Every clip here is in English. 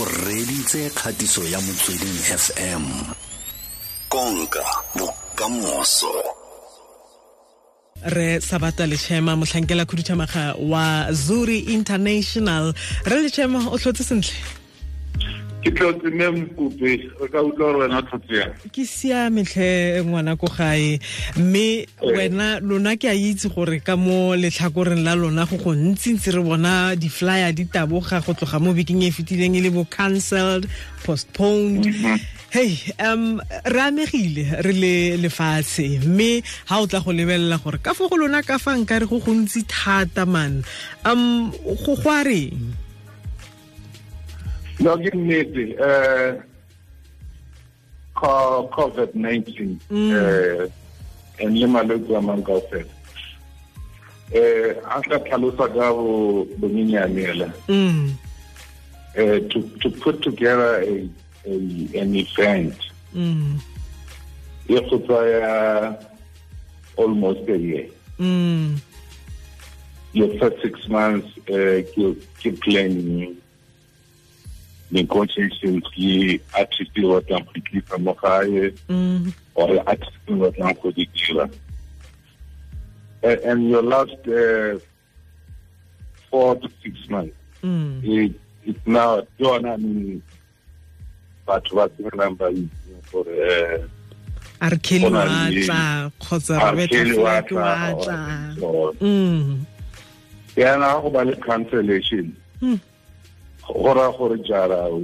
o reditse kgatiso ya motsweding fm konka bokamoso re sabata lechema motlhankela khuduthamaga wa zuri international re lechema o tlhotse sentle ke tlotse mme mokope re ka utlwa gore wena o tlotse yang ke siametlhe ngwana ko gae mme wena lona ke a itse gore ka mo letlhakoreng la lona go go ntsintsi re bona di-flyer di taboga go tloga mo bekeng e fetileng e le bo cancelled postponed hey um re amegile re le lefatshe mme ha o tla go lebelela gore ka fo go lona ka fa nka re go gontsi thata man um go go a reng no ke nnete um co- covid-19 um and le malwetse a mangwe kao fela um a tla tlhalosa ka bo- bonyenyamela mm um to to put together a, a, an event mm e go tsaya almost a year mm your first six months uh, ke ke planning negotiations le artist e wa tlang go tlisa mo gae mm or artist wa tlang go di dira A- and your last uh, four to six months mm it, it's now ke yona I mean batho ba tsebelang ba itseng gore uh, a re kheli Go na wa le- tla kgotsa a re Kelly wa betla tla, wa tla or- mm yana go ba le cancellation Hmm. go ra gore jara o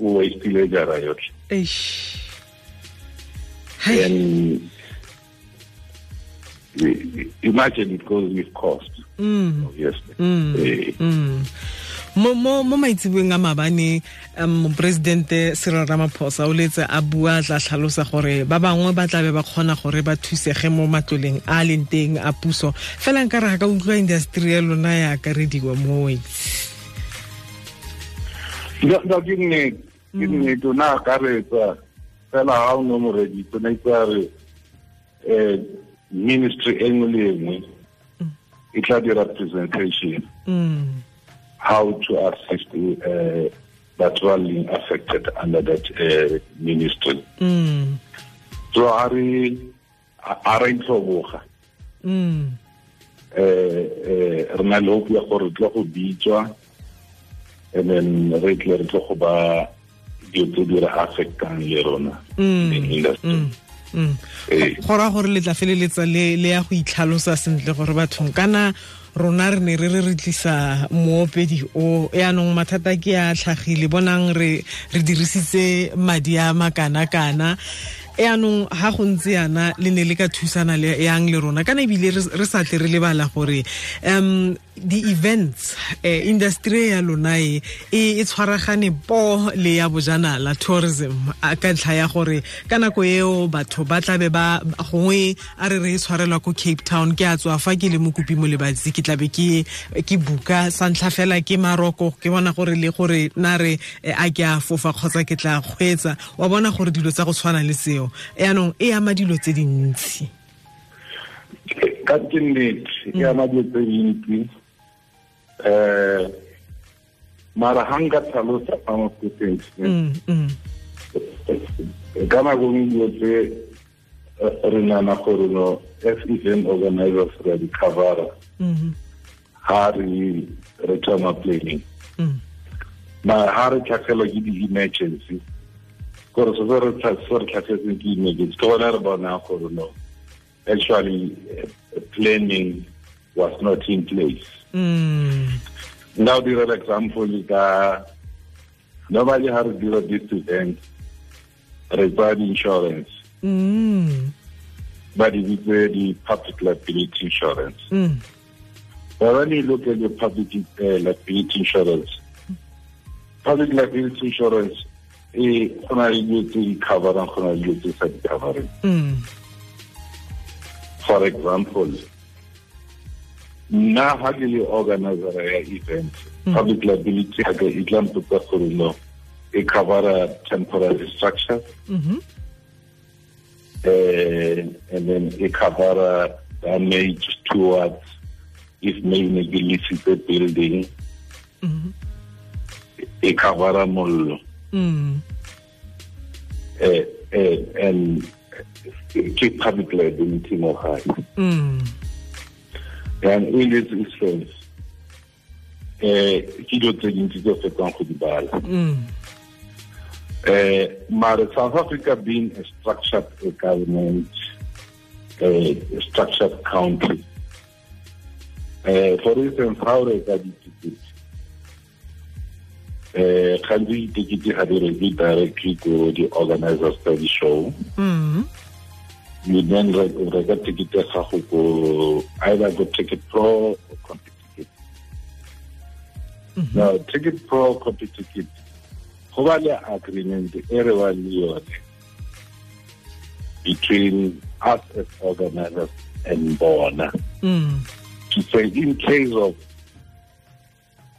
o waste-ile jara yotlhe eish hey and i- imagine it goes with cost mm obviously Mm. Eh, Mm. mo mo mo maitsebeng a mabane um moporesidente cyril ramaphosa o letse a bua a tla tlhalosa gore ba bangwe ba tlabe ba kgona gore ba thusege mo matloleng a a leng teng a puso fela nka re ga ka utlwa industry ya lona ya akarediwa mo wetse no no, ke nnete ke nnete o ne a ka reetsa fela ga o ne mo reditse ne tsa re um ministry e nngwe le e nngwe e tla dira presentation Mm. how to assist uh, that were being affected under that uh, ministry. Mm. So are are in tloboga Mm. eh eh, uh, re na le hope ya gore re tlo go bitswa and then re tle re tlo go ba dilo tse di re affectang le rona the Mm. industry Mm. Mm. Eh, go raya gore le tla feleletsa le le ya go itlhalosa sentle gore bathong kana rona re ne re re re tlisa moopedi o yaanong mathata ke a tlhagile bonang re re dirisitse madi a makana-kana yaanong ga go ntse yana le ne le ka thusana le yang le rona kana ebile re re sa tle re lebala gore um di-events eh, industry ya lona e e e tshwaragane po le ya bojanala tourism a ka ntlha ya gore ka nako eo batho ba tlabe ba gongwe a re re e tshwarelwa ko cape town ke a tswa fa ke le mokopi mo lebatsi ke tlabe ke ke buka sa ntlha fela ke maroko ke bona gore le gore na re eh, a ke a fofa kgotsa ke tla kgweetsa wa bona gore dilo tsa go tshwana le seo yaanong e ama dilo tse dintsi ka ke nnete Mm. e ama dilo tse dintsi um mara ga nka tlhalosa ka mo things Mm, mm, ka nako ngwe dilo tse eh, re nana gore no as event organizers re a di covera mm, ha re re thoma planning mm, ma ha re tlhaselwa ke di-emergency gore se se re tlha- se re tlhasetseng ke emergency ke gona re bonang gore no actually eh, planning was not in place mm, nna o dira le example ka normally ha re dira this event re tsaya di-insurance mm, ba di bitse di-public liability insurance mm. But when you look at the public uh, liability insurance, public liability insurance e gona le dilo tse di coverang go na le dilo tse sa di coverang Mm, for example nna ga ke le organizer ya event public liability yaka e tla mpotsa gore no e covera temporary structure mhm, uh, and then e covera damage towards if maybe neglected building mhm, Eh, e covera mollo mm eh, eh, and ke public liability mo gae mm and in this instance eh ke dilo tse dintsi tse fetang go di bala mm Eh, mare South Africa being a structured government, a structured country. Eh, for instance, how re ka ditikiti? Eh, gantsi ditikiti ga di rekwe directly ko di-organizers tsa di-show. mm You then re- reka ticket ya gago ko either go Ticket Pro or Copy Ticket. Mhm. Now, Ticket Pro, Copy Ticket, go ba le agreement e re bang le yone between us as organizers and bona mm to say in case of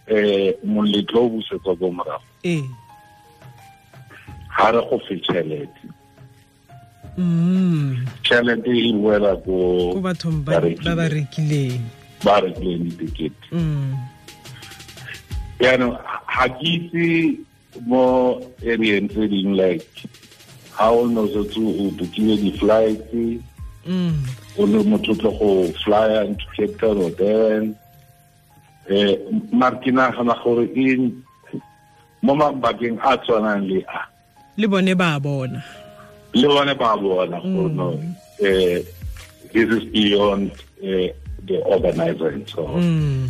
eh moletlo o busetswa ko morago eh ga re go fe tšhelete mm tšhelete e boela go ko bathong ba ba ba rekileng ba rekileng ditekete mm yaanong ga ke itse mo areeng tse dingwe like ga o ne o setse o bokile di-flight mm o le motho o tle go flyer into cape town or durban um mare ke nagana gore e mo mabakeng a tshwanang le a le bone ba bona le bone ba bona gore no um this is beyond uh, the organizer and so on mm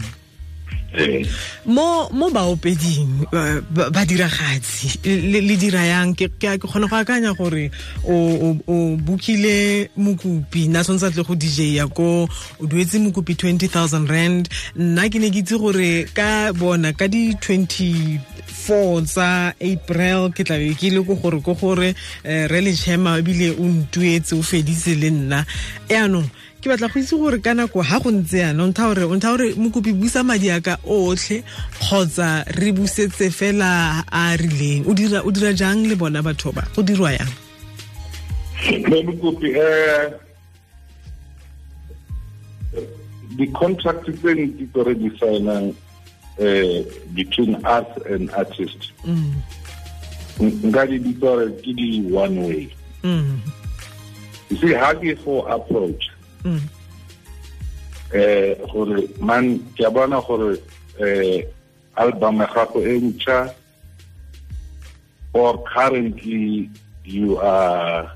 Eh, mo mo baopeding eh, ba- badiragatsi le le dira yang ke ke a- ke kgona go akanya gore o- o o bukile mokopi nna tshwanetse a tle go dj ya ko o duetse mokopi 20000 rand nna ke ne ke itse gore ka bona ka di 24 tsa april ke tlabe ke le ko gore ko gore eh, re le chema ebile o ntuetse o feditse le nna yaanong ke batla go itse gore ka nako ga go ntse yana o ntha gore o ntha gore mokopi busa madi a ka otlhe kgotsa re busetse fela a a rileng o dira o dira jang le bona batho ba go dirwa yang mme mokopi um eh, di-contract tse ntsi tse re di signang um between us and artist Mm, n- nka di bitsa gore ke di-one way mm, You see ha ke go approach mm, eh gore man ke a bona gore eh album ya gago e ntšha or currently you are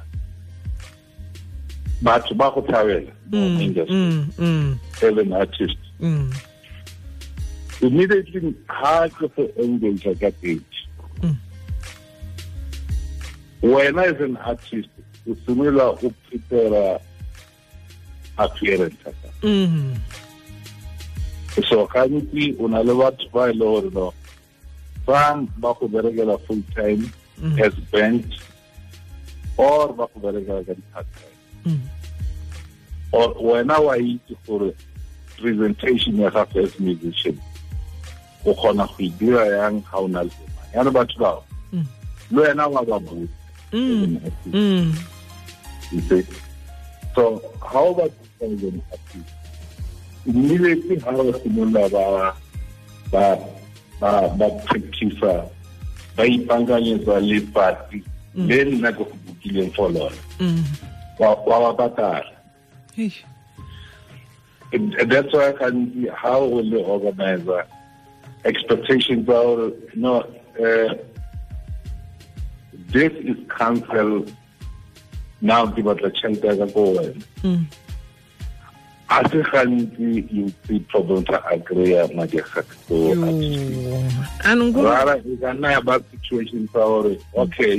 batho ba go thabela mo mm, industry mm, mm, as an artist mm, immediately ha ke go engage ka page Mm. wena as an artist o simolola o prepare appearance ya gago. mm, so gantsi o na le batho ba e le gore no fa ba go berekela full time Mm. as band or ba go berekela ka di-part time mm, or wena wa itse gore presentation ya gago as musician o kgona go e dira yang ga o na le boma yane batho bao Mm. le wena wa ba botse mm, mm, you see. So how about President Happy? Immediately how was Simona ba ba ba ba practice ba ipanganyetsa le party le nna ke go bukileng for lona mm. wa wa ba patala Hei. And- and that's why gantsi how o le organizer uh, expectations tsa gore no uh, this is council now ke batla tšhelete ya ka ko wena Mm, a se gantsi you see problem tsa agree uh, madi a gage ko artist-ing. yo. Anong go- rara e ka nna ya ba situation tsa gore okay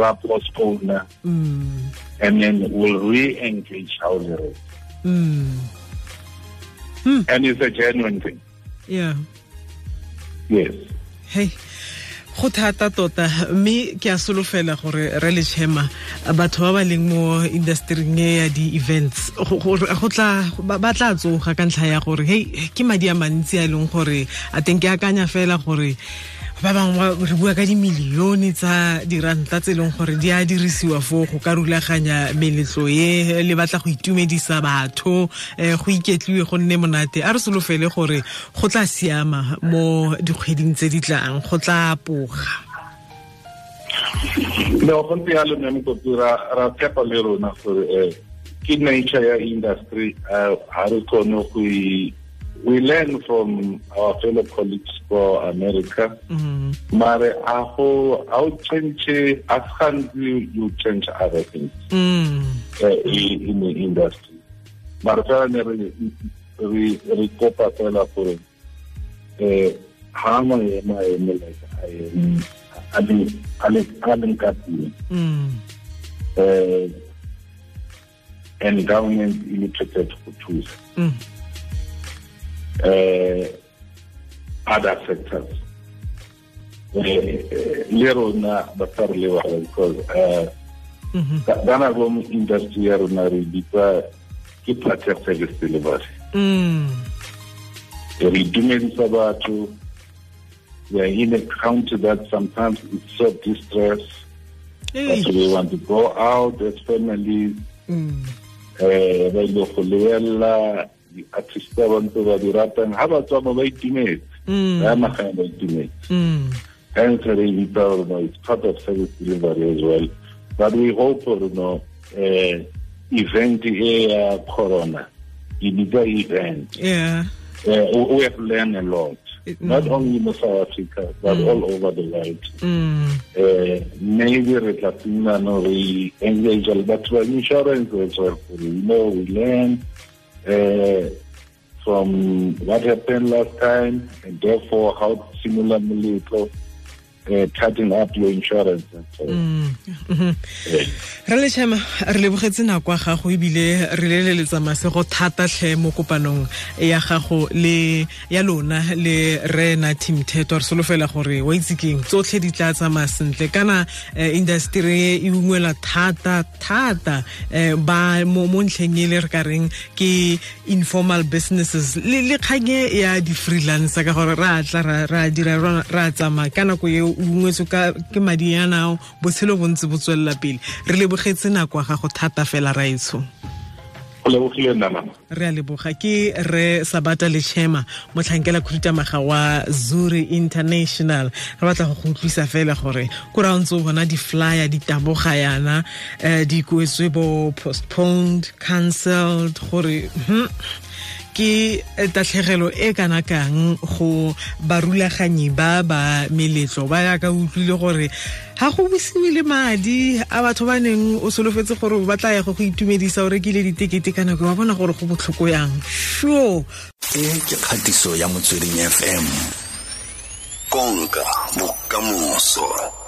ra postpone Mm, uh, and then we'll re-engage how le re mm, and it's a genuine thing yeah. yes hei go thata tota mme ke a solofela gore re le chema batho ba ba leng mo industryng e ya di-events go- gore go tla- ba ba tla tsoga ka ntlha ya gore hei ke madi a mantsi a e leng gore a teng ke akanya fela gore ba bangwe ba- re bua ka dimilione tsa diranta tse e leng gore di a dirisiwa foo go ka rulaganya meletlo e le batla go itumedisa batho um go iketliwe go nne monate a re solofele gore go tla siama mo dikgweding tse di tlang go tla poga no go ntse yalo mme mokotsi ra ra tshepa le rona gore eh, ke nature ya industry eh, ha re kgone go e- we learn from our fellow colleagues for america Mm, mare a go a o change as can't you, you change other things mm, eh, in, in the industry mare fela ne re re re kopa fela gore eh ha maemo a eme like a eme a le a le a leng ka teng mm. uh, and government illustrated go thusa Mm, uh, other sectors Eh, eh, le rona ba tsa re lebala because eh, mhm, ka ka nako mo industry ya rona re bitsa ke platex service delivery mm, re itumedisa batho we are in a country that sometimes it's so distressed Ei, that we want to go out as families mm, eh ba ile go lebella di-artist tsa ba ntse ba di ratang ha ba tswa mo ba itumetse mm, ba ya magaeng ba itumetse mm. hence re bitsa gore no it's part of service delivery as well but we hope gore no eh event e ya corona ke bitsa event Yeah. eh, we we have learned a lot It- not mm. only in south africa but all over the world Mm, eh maybe re tla fumana no re engage le batho ba insurance as well gore you know we learn eh from what happened last time and therefore how similar moletlo eh cutting up your insurance and so on. mm, mhm. Eh, re letšhama re lebogetse nako ya gago ebile re leleletsa masego thatatlhe mo kopanong ya gago le ya lona le rena team theto re solofela gore wa itse keng tsotlhe di tla tsamaya sentle kana eh, industry e e ungwela thata thata eh, ba mo mo ntlheng e le re ka reng ke informal businesses le le kgang e ya di-freelancer ka gore ra tla ra- ra dira ra ra tsamaya ka nako e o ungwetswe ka- ke madi a nao botshelo bontse bo tswelela pele re lebogetse nako ya gago thata fela e raetsho go lebogile nna mama re a leboga ke re sabata le chema motlhankela khuduthamaga wa zuri international re batla go go utlwisa fela gore ko ra o ntse o bona di-flyer di taboga yana um di kwetswe bo postponed cancelled gore hmm, ke eh, tatlhegelo e kana kang go barulaganyi ba ba meletlo ba ya ka utlwile gore ga go busiwe le madi a batho ba neng o solofetse gore ba tla ya go go itumedisa o rekile ditekete ka nako ba bona gore go botlhoko yang sure e ke kgatiso ya motsweding fm konka bokamoso